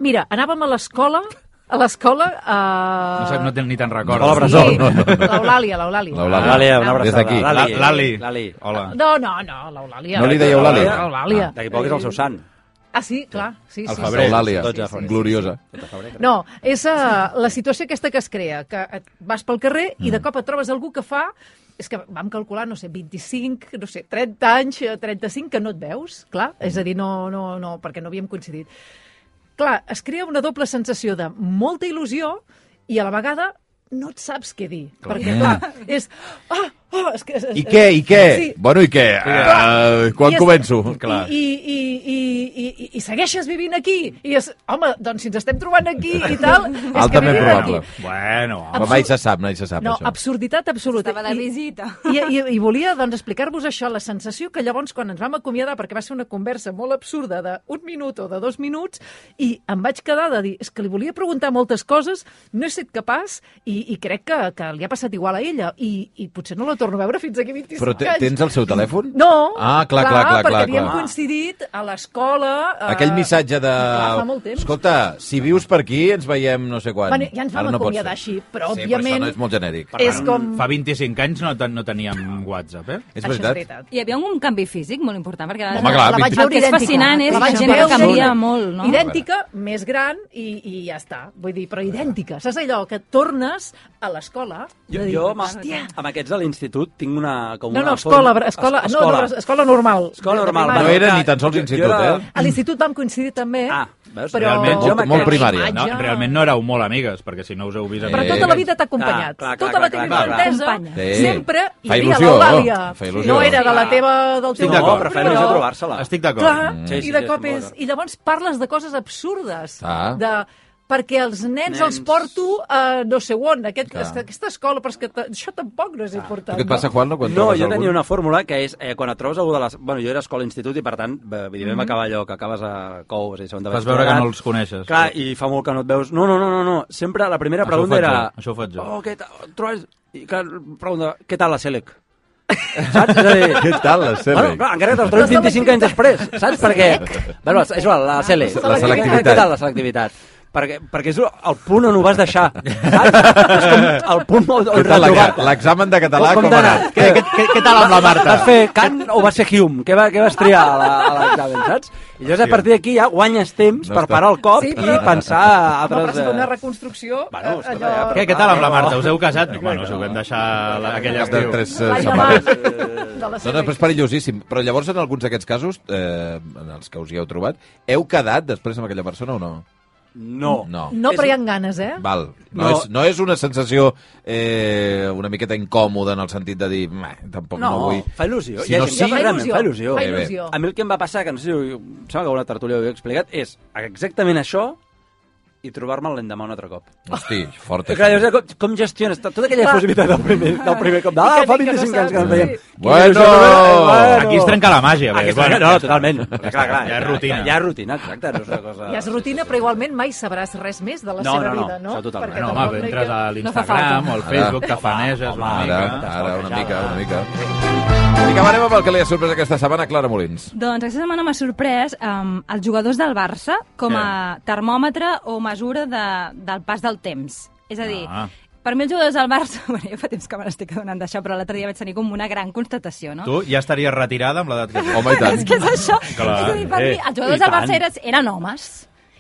S5: Mira, anàvem a l'escola, a l'escola... Uh...
S4: No, sé, no te'n ni te'n recordo.
S6: Hola,
S5: Sí,
S6: Bressol.
S5: no, no, no. l'Eulàlia, l'Eulàlia.
S2: L'Eulàlia.
S6: L'Àlia, una
S2: Des
S6: abraçada.
S2: d'aquí.
S4: L'Ali. L'Ali.
S6: L'Ali.
S4: Hola.
S5: No, no, no, l'Eulàlia.
S2: No li deieu l'Ali?
S5: L'Eulàlia.
S6: Ah, D'aquí poc és el seu sant.
S5: Ah, sí, clar. Sí,
S4: El
S5: sí,
S4: febrer.
S5: sí.
S2: Eulàlia,
S6: Dotze de febrer.
S2: gloriosa.
S5: No, és uh, la situació aquesta que es crea, que et vas pel carrer i
S2: Mm.
S5: de cop et trobes algú que fa és que vam calcular, no sé, 25, no sé, 30 anys, eh, 35, que no et veus, clar. És a dir, no, no, no, perquè no havíem coincidit. Clar, es crea una doble sensació de molta il·lusió i a la vegada no et saps què dir. Clar. Perquè, clar, és... Ah, ah, és que, és,
S2: I què, i què?
S5: Sí,
S2: Bueno, i què? Uh,
S5: I
S2: quan
S5: és-
S2: començo?
S4: Clar.
S5: I, i, i, i, i, I segueixes vivint aquí. I és, home, doncs si ens estem trobant aquí i tal... És que
S2: Altament
S5: vivim
S2: probable.
S5: Aquí.
S4: Bueno, home.
S2: Però mai se sap, mai se sap,
S5: No,
S2: Ah, això.
S5: absurditat absoluta.
S3: Estava de visita.
S5: I, i, i volia doncs, explicar-vos això, la sensació que llavors quan ens vam acomiadar, perquè va ser una conversa molt absurda d'un minut o de dos minuts, i em vaig quedar de dir, és que li volia preguntar moltes coses, no he set capaç, i, i crec que, que li ha passat igual a ella, i, i potser no la torno a veure fins aquí 25
S2: Però te-
S5: anys.
S2: tens el seu telèfon?
S5: Mm. No,
S2: Ah, clar, clar, clar,
S5: perquè
S2: clar,
S5: havíem
S2: clar.
S5: coincidit a l'escola... eh,
S2: Aquell missatge de...
S5: Clar, fa molt temps.
S2: Escolta, si vius per aquí, ens veiem no sé quan.
S5: Bueno, ja ens vam
S2: Ara no pot
S5: acomiadar
S2: ser.
S5: així, però,
S2: sí,
S5: òbviament,
S2: Però
S5: Eh,
S2: això no és molt genèric.
S5: Per és com...
S4: Fa 25 anys no, ten- no teníem WhatsApp, eh?
S2: És veritat?
S5: Això és veritat.
S3: Hi havia un canvi físic molt important, perquè
S2: Home, clar,
S5: la vaig
S3: el que
S5: veure
S3: és
S5: idèntica.
S3: fascinant és
S5: La
S3: la
S5: vaig
S3: gent que
S5: veure
S3: canvia
S5: idèntica.
S3: molt, no?
S5: Idèntica, més gran i, i ja està. Vull dir, però idèntica. Saps allò que tornes a l'escola?
S6: Jo,
S5: de dir,
S6: jo amb,
S5: hòstia,
S6: amb aquests de l'institut tinc una... Com
S5: No,
S6: una
S5: no, escola,
S6: forma-
S5: escola,
S6: es-
S5: no, no, escola normal.
S6: Escola
S5: De- de
S6: normal.
S5: primària.
S2: No era
S6: clar,
S2: ni tan sols
S6: jo- jo
S2: institut,
S6: era-
S2: eh?
S5: A l'institut vam coincidir també,
S6: Ah, veus?
S5: però...
S4: Realment,
S2: Molt,
S6: amb
S2: molt
S6: aquest-
S2: primària.
S4: No,
S5: Ja.
S4: realment no éreu molt amigues, perquè si no us heu vist...
S5: Però
S2: Eh,
S4: amb-
S5: tota la vida t'ha acompanyat.
S6: clar, clar,
S5: tota la
S6: clar,
S5: teva
S4: clar, clar.
S5: infantesa
S2: Acompanya. Sí.
S5: sempre hi
S2: Fa
S5: havia
S2: il·lusió,
S5: l'Eulàlia.
S2: fa
S5: Sí,
S2: il·lusió.
S5: No era de la
S6: Sí,
S5: teva, del
S6: Estic
S5: teu
S6: d'acord,
S5: grup,
S6: però fa il·lusió
S5: però-
S6: trobar-la.
S4: Estic d'acord.
S5: Clar, sí,
S6: Mm. Sí,
S5: sí,
S6: sí,
S5: i de
S6: sí,
S5: cop
S6: estic
S5: és...
S6: d'acord.
S5: I llavors parles de coses absurdes.
S2: Ah.
S5: De, perquè els nens,
S6: Nens.
S5: nens els porto a no sé on, aquest,
S2: Clar.
S5: és que aquesta escola, però és que t- això tampoc no és important.
S2: Tu què et passa, Juan, no? Quan
S6: No,
S2: trobes
S6: jo
S2: algun?
S6: tenia una fórmula que és, eh, quan et trobes algú de les... Bueno, jo era escola-institut i, per tant, eh, evidentment mm -hmm. acabar allò, que acabes a Cous i segon de
S4: Mhm. Fas
S6: batxillerat.
S4: veure que no els coneixes.
S6: Clar, i fa molt que no et veus. No, no, no, no, no. sempre la primera
S4: Això
S6: pregunta
S4: ho faig
S6: era...
S4: jo, això ho faig jo.
S6: Oh, què tal? Trobes... I clar, pregunta, què tal la Selec? Saps? És a dir,
S2: Què tal, la
S6: Bueno,
S2: Serrec?
S6: clar, encara que te'ls trobis 25 anys després, saps? Perquè, bueno, és igual, la CL.
S2: La selectivitat.
S6: Què tal la selectivitat? Perquè, perquè és el punt on ho vas deixar, saps? És com el punt on,
S2: Què
S6: on
S2: tal la-
S6: retrobar.
S2: l'examen de català com ha
S6: t'ha
S2: anat?
S6: Què, què, què, què tal amb la Marta? Vas fer Kant o vas ser Hume? Què, va, què vas triar a la- a l'examen, saps? I llavors a partir d'aquí ja guanyes temps
S2: No
S6: per
S2: està-
S6: parar el cop
S5: Sí,
S6: i
S5: però-
S6: pensar a
S5: Home, però
S6: altres...
S5: és que una
S6: eh,
S5: reconstrucció...
S6: Bueno,
S5: eh,
S6: escolta,
S5: allò...
S6: ja,
S4: Què,
S6: però-
S4: què tal amb la
S6: Ah,
S4: Marta?
S6: no.
S4: Us heu casat? No, bueno, us ho vam deixar la- aquell
S2: De
S4: estiu.
S2: tres eh,
S5: La
S2: setmanes.
S5: llamada de la
S2: No, no,
S5: seva...
S2: però és perillosíssim. Però llavors, en alguns d'aquests casos, eh, en els que us hi heu trobat, heu quedat després amb aquella persona o no?
S6: No.
S2: No.
S5: No, però hi ha ganes, eh?
S2: Val. No,
S6: No.
S2: És, no és una sensació eh, una miqueta incòmoda en el sentit de dir "Meh, tampoc no,
S6: No,
S2: vull...
S6: fa il·lusió.
S2: Si
S6: Hi ha
S2: no,
S6: gent
S2: sí.
S6: que realment fa il·lusió.
S5: Fa
S2: Bé, bé.
S5: il·lusió.
S6: A mi el que em va passar, que no sé si ho, em sembla que a una tertúlia ho he explicat, és exactament això i trobar-me l'endemà un altre cop.
S2: Hosti, fort.
S6: Però
S2: això.
S6: clar, llavors, com, com gestiones tota aquella
S5: Clar.
S6: efusivitat del primer, del primer cop? Ah,
S5: I que
S6: fa
S5: dic que no
S6: 25 anys que
S5: saps,
S6: no ens veiem.
S5: sí.
S6: Quina
S2: Bueno!
S6: il·lusió, eh,
S4: Aquí es trenca la màgia.
S6: Aquí
S4: bé,
S6: es trenca,
S4: bueno.
S6: no, totalment. Clar, clar,
S4: Ja és rutina.
S6: Ja, ja és rutina, exacte. No és una cosa...
S5: Ja és rutina, però igualment mai sabràs res més de la
S6: No,
S5: seva
S6: no, no,
S5: vida, no?
S6: això totalment.
S5: Perquè
S4: No,
S5: tampoc
S4: home,
S5: hi
S4: entres
S5: ha-
S4: a
S3: fa
S4: l'Instagram
S3: falta.
S4: o al Facebook, tafaneges una
S2: Ara,
S4: mica.
S2: ara, una mica, una mica. Vinga, va, anem amb el que li ha sorprès aquesta setmana a Clara Molins.
S3: Doncs aquesta setmana m'ha sorprès um, els jugadors del Barça com a termòmetre o mesura de, del pas del temps. És a dir,
S4: Ah.
S3: per mi els jugadors del Barça... [LAUGHS] Bueno, ja fa temps que me n'estic adonant d'això, però l'altre dia vaig tenir com una gran constatació, [LAUGHS] no?
S4: Tu ja estaries retirada amb l'edat que tens.
S2: Home, i tant. [LAUGHS]
S3: [LAUGHS] És que és això.
S4: Clar,
S3: és a dir, per
S4: eh,
S3: mi, els jugadors
S6: i
S3: del Barça
S6: tant.
S3: eren, eren homes.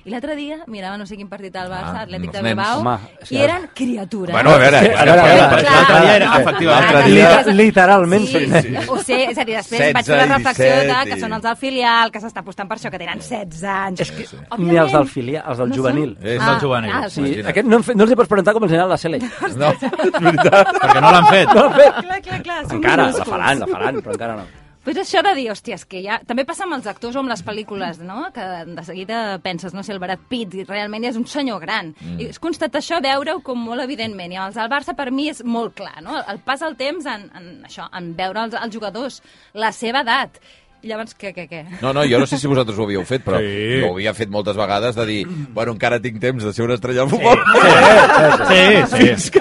S3: I I l'altre dia mirava no sé quin partit al Barça,
S2: Ah,
S3: ah, Atlètic
S2: uns
S3: de
S2: nens.
S3: Bilbao,
S6: Home, és
S3: i
S6: que-
S3: eren criatures.
S2: Bueno, a veure,
S6: Sí,
S2: clar,
S6: a veure, a veure,
S2: clar,
S6: clar.
S2: l'altre dia era,
S3: Clar.
S2: efectivament.
S3: L'altre
S6: Liter-
S3: dia-
S6: Literalment.
S3: Sí, sí. Ho sé, és a dir, després
S2: 16
S3: vaig fer la
S2: i
S3: reflexió de
S2: 17
S3: que
S2: i-
S3: són els del filial, que s'està apostant per això, que tenen 16 anys. És que,
S6: Ni els del filial, els del juvenil.
S2: És
S4: del juvenil.
S6: Sí,
S3: Ah, sí.
S2: Imagina't.
S6: aquest no, en fe- no els hi pots presentar com el senyal de la Sele.
S2: No, és veritat.
S4: Perquè no l'han fet.
S3: Clar, clar, clar, són
S6: Encara, la
S3: minúsculs.
S6: faran, la faran, però encara no.
S3: Però és això de dir, hòstia, és que ja... També passa amb els actors o amb les pel·lícules, no? Que de seguida penses, no sé, el Brad Pitt i realment ja és un senyor gran. Mm. I és constatar això, veure-ho com molt evidentment. I amb els del Barça, per mi, és molt clar, no? El pas del temps en, en això, en veure els, els jugadors, la seva edat. I llavors, què, què, què?
S2: No, no, jo no sé si vosaltres ho havíeu fet, però
S4: Sí.
S2: sí. ho havia fet moltes vegades de dir, bueno, encara tinc temps de ser una estrella del futbol.
S4: Sí, sí.
S2: Fins que...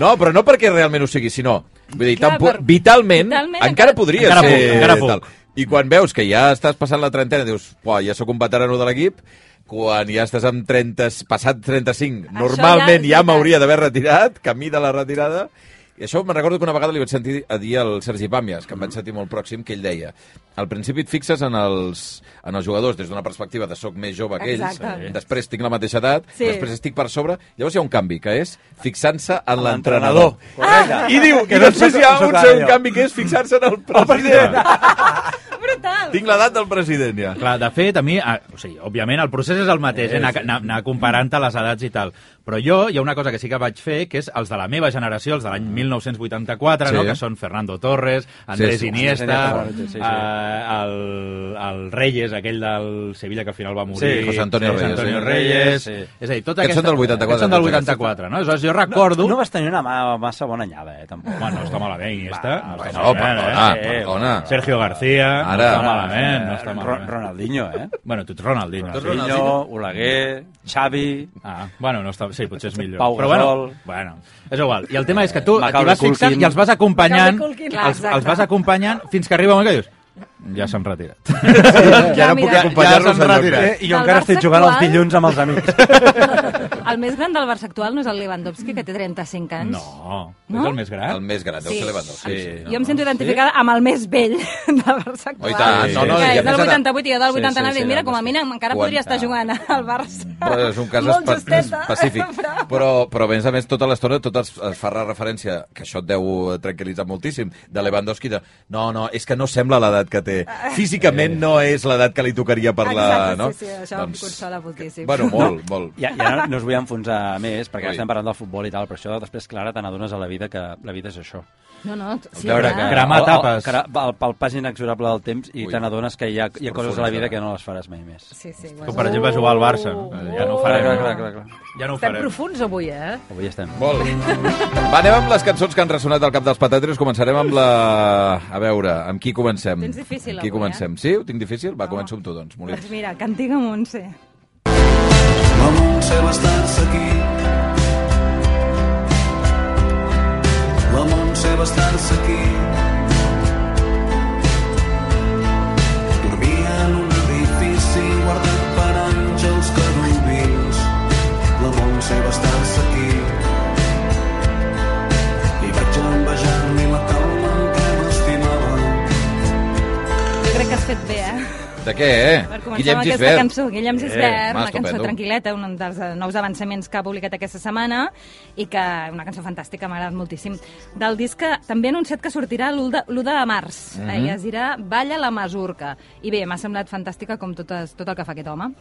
S2: No, però no perquè realment ho sigui, sinó... Vull dir,
S3: Clar,
S2: tampoc,
S3: per-
S2: vitalment,
S3: vitalment
S2: encara,
S3: encara-
S2: podria
S4: Encara
S2: ser...
S4: puc, encara puc.
S2: I quan veus que ja estàs passant la trentena, dius, "Buah, ja sóc un veterano de l'equip, quan ja estàs amb 30, passat 35,
S3: Això
S2: normalment
S3: ja
S2: ja,
S3: és
S2: m'hauria d'haver retirat, camí de la retirada, i això me'n recordo que una vegada li vaig sentir a dir al Sergi Pàmies, que em vaig sentir molt pròxim, que ell deia al principi et fixes en els, en els jugadors des d'una perspectiva de soc més jove que ells,
S3: Exacte.
S2: després tinc la mateixa edat,
S3: Sí.
S2: sí. després estic per sobre, llavors hi ha un canvi, que és fixant-se en l'entrenador. Ah!
S1: l'entrenador. Correcte.
S2: I diu,
S1: Que
S2: i
S1: no
S2: després
S1: sóc-
S2: hi ha
S1: no sóc
S2: un
S1: ara
S2: segon
S1: jo.
S2: canvi, que és fixar-se en el president.
S3: Brutal!
S2: Tinc l'edat del president, ja.
S4: Clar, de fet, a mi, a, o sigui, òbviament el procés és el mateix, eh, anar, anar, anar comparant-te les edats i tal, però jo hi ha una cosa que sí que vaig fer, que és els de la meva generació, els de l'any 1984,
S2: Mm. Sí.
S4: sí. no? que són Fernando Torres, Andrés
S2: sí.
S4: sí, sí, Iniesta,
S6: Sí, sí, sí.
S4: eh, el, el Reyes, aquell del Sevilla que al final va morir,
S2: Sí, José Antonio Reyes,
S4: Antonio
S2: sí.
S4: Reyes
S6: Sí.
S4: és a dir, tota
S2: Aquests
S4: aquesta,
S2: són del 84,
S4: Aquests són del
S2: tots aquests.
S4: 84, no? Aleshores, jo recordo...
S6: No vas tenir una mà massa bona anyada, eh, tampoc.
S4: Bueno, no està malament, Iniesta.
S6: Va,
S4: no està
S2: No,
S4: malament,
S2: perdona,
S4: eh?
S2: perdona.
S4: Sergio García,
S2: Ara.
S4: no està malament, no està
S6: eh, Ro-
S4: malament.
S6: Ronaldinho, eh?
S4: Bueno, tu ets Ronaldinho.
S2: Tu ets Ronaldinho.
S6: Ronaldinho, Oleguer, Xavi...
S4: Ah, bueno, no està... sí, potser és millor.
S6: Pau
S4: Però bueno,
S6: Gasol.
S4: bueno, és igual. I el tema és que tu t'hi
S6: Macaulay
S4: vas fixant
S6: Culkin.
S4: i els vas acompanyant,
S3: Macaulay Culkin. Clar,
S4: els,
S3: exacte.
S4: els vas acompanyant fins que arriba un moment que dius ja s'han retirat.
S2: Ja no puc
S3: mira.
S4: Ja
S2: acompanyar-los
S4: s'han
S2: enlloc
S4: retirat.
S2: més.
S6: Eh, I jo
S3: Del
S6: encara estic
S3: Barça
S6: jugant els
S3: actual?
S6: dilluns amb els amics.
S3: El més gran del Barça actual no és el Lewandowski, que té 35 anys.
S4: No,
S3: No?
S4: és el més gran.
S2: Eh? El més gran, deu
S3: Sí.
S2: ser Lewandowski.
S3: Jo em sento identificada amb el més vell del Barça
S2: Eh, Oh,
S3: actual.
S2: i tant.
S4: No, no,
S3: que
S4: i a
S3: és
S2: més
S3: del
S2: ara-
S3: 88 i jo del
S6: Sí,
S3: 89.
S6: sí, sí,
S3: dic, mira,
S6: no,
S3: com a
S6: sí.
S3: mína encara
S2: Quan-
S3: podria estar jugant al Barça.
S2: Però és un cas
S3: Molt
S2: espe
S3: justeta,
S2: específic.
S3: [LAUGHS] però-
S2: Però, però a més a més, tota l'estona tot es, es fa referència, que això et deu eh, tranquil·litzar moltíssim, de Lewandowski de no, no, és que no sembla l'edat que té. Físicament no és l'edat que li tocaria per la...
S3: Ah. Exacte,
S2: no? Doncs
S3: sí, sí, això em consola moltíssim. [LAUGHS]
S2: Bueno, molt, molt.
S6: Ja, ja no, no us vull enfonsar més, perquè
S2: Ui.
S6: estem parlant del futbol i tal, però això després, Clara, te n'adones a la vida que la vida és això.
S3: No, no, sí,
S2: veure
S3: clar.
S2: que-
S4: Cremar
S6: Ah. O- o-
S4: tapes.
S6: que Pel, pel pas inexorable del temps i
S2: Ui.
S6: te n'adones que hi ha, hi ha coses a la vida
S2: profund,
S6: que no les faràs mai més.
S3: Sí, sí, bueno.
S4: Com per exemple jugar al Barça.
S3: Oh.
S4: Ja no ho farem.
S6: Clar, clar, clar, clar, clar.
S4: Ja no ho
S5: Estem
S4: farem.
S5: profuns avui, eh?
S6: Avui estem.
S2: Molt. Va, anem amb les cançons que han ressonat al cap dels patatres. Començarem amb la... A veure, amb qui comencem?
S3: Tens difícil,
S2: amb qui
S3: avui, Oh.
S2: comencem? Eh? Sí, ho tinc difícil? Va, començo amb tu, doncs. Molins.
S3: Doncs mira, Cantiga Montse.
S7: La Montse va estar-se aquí. La Montse va estar-se aquí. Dormia en un edifici guardat per àngels querubins. La Montse va estar-se aquí. I vaig envejar-li la calma en què m'estimava.
S3: Jo crec que has fet bé, eh?
S2: De què,
S3: Per
S2: eh?
S3: començar
S2: Guillem
S3: amb aquesta
S2: Gisbert.
S3: cançó, Guillem Gisbert,
S2: va,
S3: una cançó
S2: estupendo.
S3: tranquil·leta, un dels eh, nous avançaments que ha publicat aquesta setmana, i que una cançó fantàstica, m'ha agradat moltíssim. Del disc que també ha anunciat que sortirà l'1 de, l'1 de març, mm -hmm. i es dirà Balla la Masurca. I bé, m'ha semblat fantàstica com totes, tot el que fa aquest home.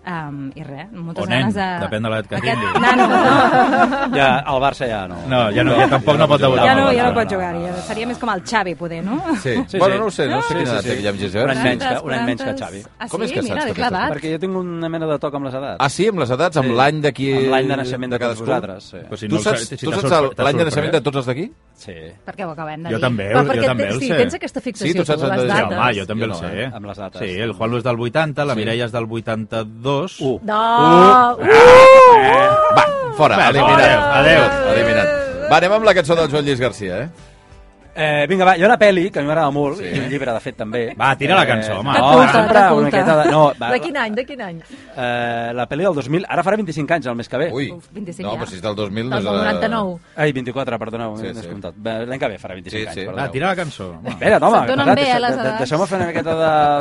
S3: Um, I res, moltes
S4: O nen,
S3: ganes de...
S4: depèn de l'edat que
S3: Aquest
S4: tingui.
S3: Nano, no,
S6: Ja, al Barça ja no.
S4: No, ja no, ja tampoc no pot debutar.
S3: ja
S4: amb
S3: no,
S4: el
S3: ja no
S4: Barça.
S3: pot jugar-hi. ja Seria més com el Xavi, poder, no?
S2: Sí.
S6: Sí,
S2: bueno,
S6: sí.
S2: no ho sé, no sé
S6: Sí,
S2: quina
S6: sí,
S2: edat té
S6: sí.
S2: Guillem
S6: Un
S2: Gisbert.
S6: any menys que- un any menys que el Xavi.
S3: Ah, sí?
S2: Com és que saps
S3: Mira,
S2: que
S3: l'he
S2: té aquesta
S3: clavat.
S6: Perquè jo tinc una mena de toc amb les edats.
S2: Ah, sí, amb les edats, amb
S6: Sí.
S2: l'any d'aquí...
S6: Amb l'any de naixement de tots
S2: cadascú?
S6: vosaltres, sí.
S4: Però si
S2: tu
S4: no el
S2: saps,
S4: si
S2: tu
S4: t'ha
S2: saps el-
S4: sorpre- t'ha
S2: l'any de
S4: sorprès.
S2: naixement de tots els d'aquí?
S6: Sí.
S3: Perquè ho acabem de dir.
S4: Jo també,
S5: Però
S4: jo
S5: perquè
S4: també
S5: te,
S4: el
S5: sí,
S4: sé.
S5: tens aquesta fixació,
S2: Sí, tu saps
S5: tu, les
S2: el-
S4: Sí,
S5: dates.
S4: home, jo també
S2: Jo
S4: el
S2: no,
S4: sé.
S2: eh?
S6: Amb les dates.
S4: Sí, el Juan Luis del 80, la
S2: Sí.
S4: Mireia és del Ah, 82.
S6: U.
S5: No! Uh!
S2: Va, fora,
S4: Va,
S2: eliminat.
S4: adéu, adéu.
S2: Eliminat. Va, anem amb la cançó del Joan Lluís García, eh?
S6: Eh, vinga, va, hi ha una pel·li que a mi m'agrada molt,
S2: Sí.
S6: sí. i un llibre, de fet, també. Eh,
S4: Va, tira la cançó, home.
S6: No,
S4: De
S3: culte,
S6: sempre
S3: de
S6: una
S3: culte.
S6: miqueta de... No, va,
S5: De quin any, de quin any?
S6: eh, la pel·li del 2000, ara farà 25 anys, el mes que ve.
S2: Ui,
S3: Uf, 25
S2: no,
S3: ja.
S2: però si és del 2000... no
S5: Del
S2: és eh, de-
S5: 99.
S6: Ai, 24, perdoneu,
S2: Sí,
S6: m'he
S2: sí.
S6: sí, descomptat. Bé, L'any que ve farà 25
S2: Sí,
S6: anys,
S2: sí.
S6: perdoneu.
S4: Va, tira la cançó. home.
S6: Espera, home,
S3: Se't donen
S6: espera,
S3: bé,
S6: deixa-
S3: eh, les
S6: de- de-
S3: edats.
S6: deixeu-me fer una miqueta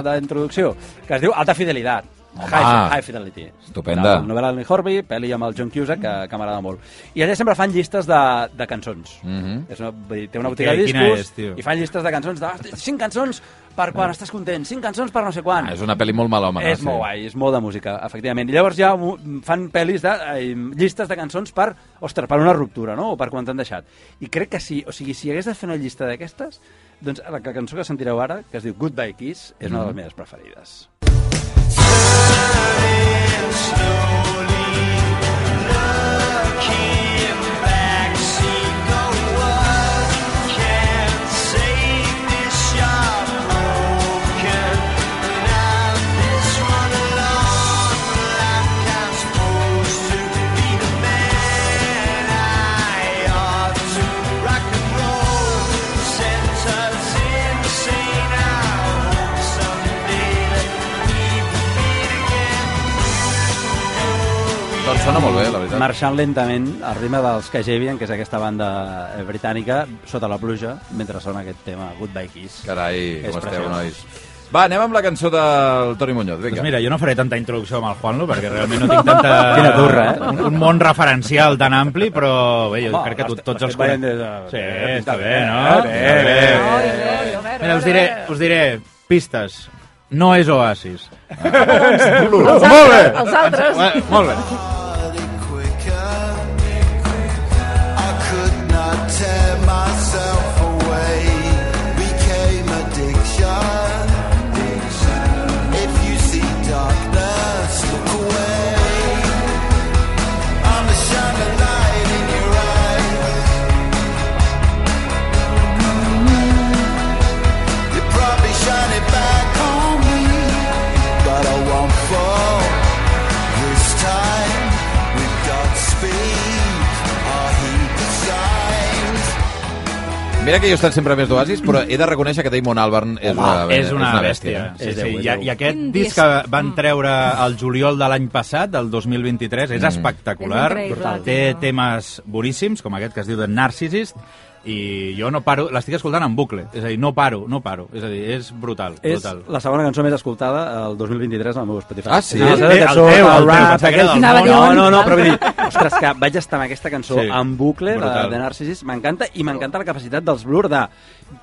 S6: de- d'introducció, que es diu Alta Fidelitat. High, High Fidelity.
S2: Estupenda.
S6: Una novel·la d'Annie Horby, pel·li amb el John Cusack, que, que m'agrada molt. I allà sempre fan llistes de, de cançons. Mm -hmm. és una, vull dir, té una botiga
S4: Què-
S6: de
S4: quina és,
S6: discos
S4: tio? Eh.
S6: i fan llistes de cançons. De, "Hosti, cinc cançons per quan estàs content, cinc cançons per no sé quan.
S2: Ah, és una pel·li molt malhome.
S6: És molt guai, és molt de música, efectivament. I llavors ja mu- fan pel·lis de eh, llistes de cançons per, ostres, per una ruptura, no? O per quan t'han deixat. I crec que si, o sigui, si hagués de fer una llista d'aquestes, doncs la que- cançó que sentireu ara, que es diu Goodbye Kiss, és
S4: Mhm.
S6: una de les meves preferides.
S2: Doncs sona molt bé, la veritat.
S6: Marxant lentament al ritme dels Cajabian, que és aquesta banda eh, britànica, sota la pluja, mentre sona aquest tema Goodbye Kiss.
S2: Carai,
S6: És
S2: com esteu,
S6: preciós.
S2: nois. Va, anem amb la cançó del Toni Muñoz, vinga.
S4: Doncs mira, jo no faré tanta introducció amb el Juanlo, perquè realment no
S6: [LAUGHS]
S4: tinc tanta...
S6: Quina turra, eh?
S4: Un, un món referencial tan ampli, però bé, jo
S6: Home,
S4: crec que
S6: els-
S4: tot, tots
S6: els
S4: els...
S6: que ballen
S4: conec.
S6: des de-
S4: Sí,
S6: eh,
S4: està
S6: pinta
S4: bé,
S6: bé,
S4: no?
S6: eh? Bé,
S4: Està
S6: bé.
S5: Oi, oi, a veure,
S4: Mira, us
S5: a
S4: diré,
S5: veure.
S4: us diré pistes. No és Oasis.
S5: Els altres, els altres.
S4: Eh, molt bé.
S7: Shine it back on me, but I won't fall. This time we've got speed. Our heat shines.
S2: Mira que jo he estat sempre més d'Oasis, però he de reconèixer que Damon Albarn Ah, és, una,
S4: Ah, és una, bèstia.
S6: És
S4: Sí,
S6: Déu,
S4: sí.
S6: és
S4: I,
S6: Déu.
S4: I aquest
S3: Quin Mm.
S4: disc
S3: disc.
S4: que van treure al juliol de l'any passat, del 2023,
S2: Mm.
S4: és espectacular.
S3: És increïble, Brutal.
S4: Té
S3: tio.
S4: temes boníssims, com aquest que es diu The Narcissist, i jo no paro, l'estic escoltant en bucle, és a dir, no paro, no paro, és a dir, és brutal,
S6: És
S4: brutal.
S6: la segona cançó més escoltada el 2023 al meu Spotify.
S2: Ah, sí?
S6: És aquesta
S4: Eh, El teu,
S6: cançó,
S4: el teu,
S6: el
S4: el teu,
S6: rap,
S4: pensava que era
S6: aquell-
S4: del
S3: Anava a dir
S6: No,
S3: on.
S6: no, no, però vull dir, ostres, que vaig estar amb aquesta cançó
S4: Sí.
S6: en bucle de,
S4: Brutal.
S6: de Narcissus, m'encanta, i m'encanta la capacitat dels Blur de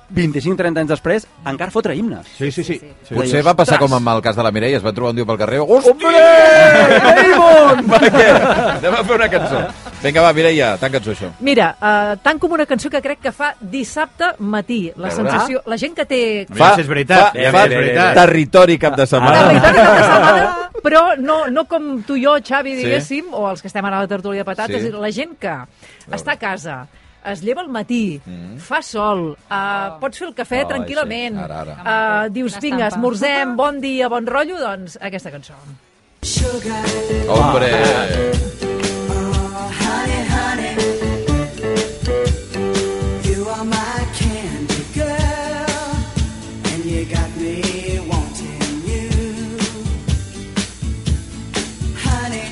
S6: 25-30 anys després encara fotre himnes.
S4: Sí, sí, sí. sí.
S2: Potser va passar com amb el cas de la Mireia, es va trobar un dia pel carrer...
S6: Hombre!
S2: Hosti! [LAUGHS] Va, què? Anem a fer una cançó. Vinga, va, Mireia, tanca't això.
S5: Mira, uh, tant com una cançó que crec que fa dissabte matí. La
S2: Veure?
S5: sensació... La gent que té...
S4: Mira, si és veritat,
S2: fa,
S4: mira,
S2: fa
S4: si és veritat.
S2: territori cap de setmana.
S6: Ara-
S5: Territori
S2: [LAUGHS]
S5: de setmana, però no, no com tu i jo, Xavi,
S2: Sí.
S5: diguéssim, o els que estem ara a la tertúlia de patates,
S2: Sí.
S5: sí. la gent que està a casa, es lleva al matí, mm. fa sol, uh, pots fer el cafè
S6: Ai,
S5: tranquil·lament,
S2: sí. Ara, ara.
S5: Uh, dius,
S3: Oh. Una
S5: vinga,
S3: estampa.
S5: esmorzem, bon dia, bon rotllo, doncs aquesta cançó.
S2: Hombre!
S7: You are my candy girl, and you got me wanting you. Honey,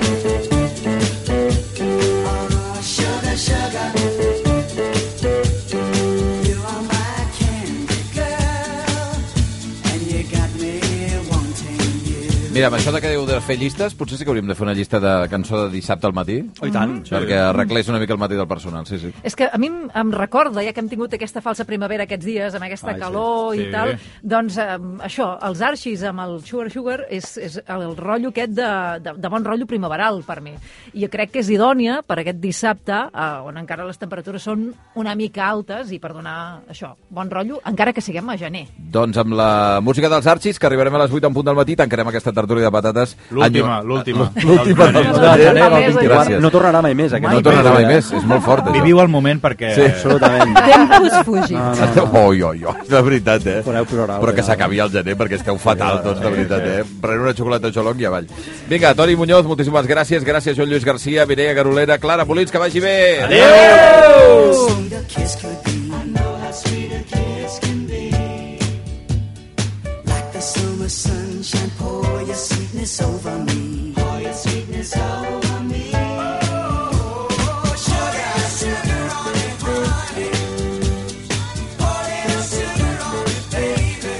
S7: oh, sugar, sugar. You are my candy girl, and you got me wanting you.
S2: Mira, amb això de que diu de fer llistes, potser sí que hauríem de fer una llista de cançó de dissabte al matí.
S6: Oh, i tant.
S2: Sí. Perquè arreglés una mica el matí del personal, sí, sí.
S5: És que a mi em, em recorda, ja que hem tingut aquesta falsa primavera aquests dies, amb aquesta
S6: Ai, sí.
S5: calor
S4: Sí.
S5: i tal, doncs um, això, els arxis amb el Sugar Sugar és, és el rotllo aquest de, de, de bon rotllo primaveral per mi. I jo crec que és idònia per aquest dissabte, eh, on encara les temperatures són una mica altes, i per donar això, bon rotllo, encara que siguem a gener.
S2: Doncs amb la música dels Arxis, que arribarem a les 8 en punt del matí, tancarem aquesta tertúlia de patates.
S4: L'última, l'última.
S2: [LAUGHS] L'última del
S5: L'última.
S2: gener.
S5: L'última.
S2: Gràcies.
S6: No tornarà mai més, aquest.
S2: No tornarà mai més, és molt fort, això.
S4: Viviu el moment perquè...
S2: Sí.
S6: Absolutament.
S3: Tempus fugit. No,
S2: No, no. [LAUGHS] Oi, oi, oi, de veritat, eh?
S6: Podeu plorar,
S2: Però que
S6: podeu.
S2: s'acabi el gener perquè esteu fatal tots, de veritat, eh? Prenent una xocolata xolong i avall. Vinga, Toni Muñoz, moltíssimes gràcies. Gràcies, Joan Lluís Garcia, Mireia Garolera, Clara Molins, que vagi bé. Adéu!
S7: sweet a kiss could be. I know how sweet a kiss can be. Like the summer sunshine, pour your sweetness over me. Pour your sweetness over me. Oh, sugar, sugar on it, honey. Pour little sugar on it, baby.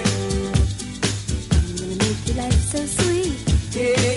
S1: Make your life so sweet.
S7: Yeah. Oh,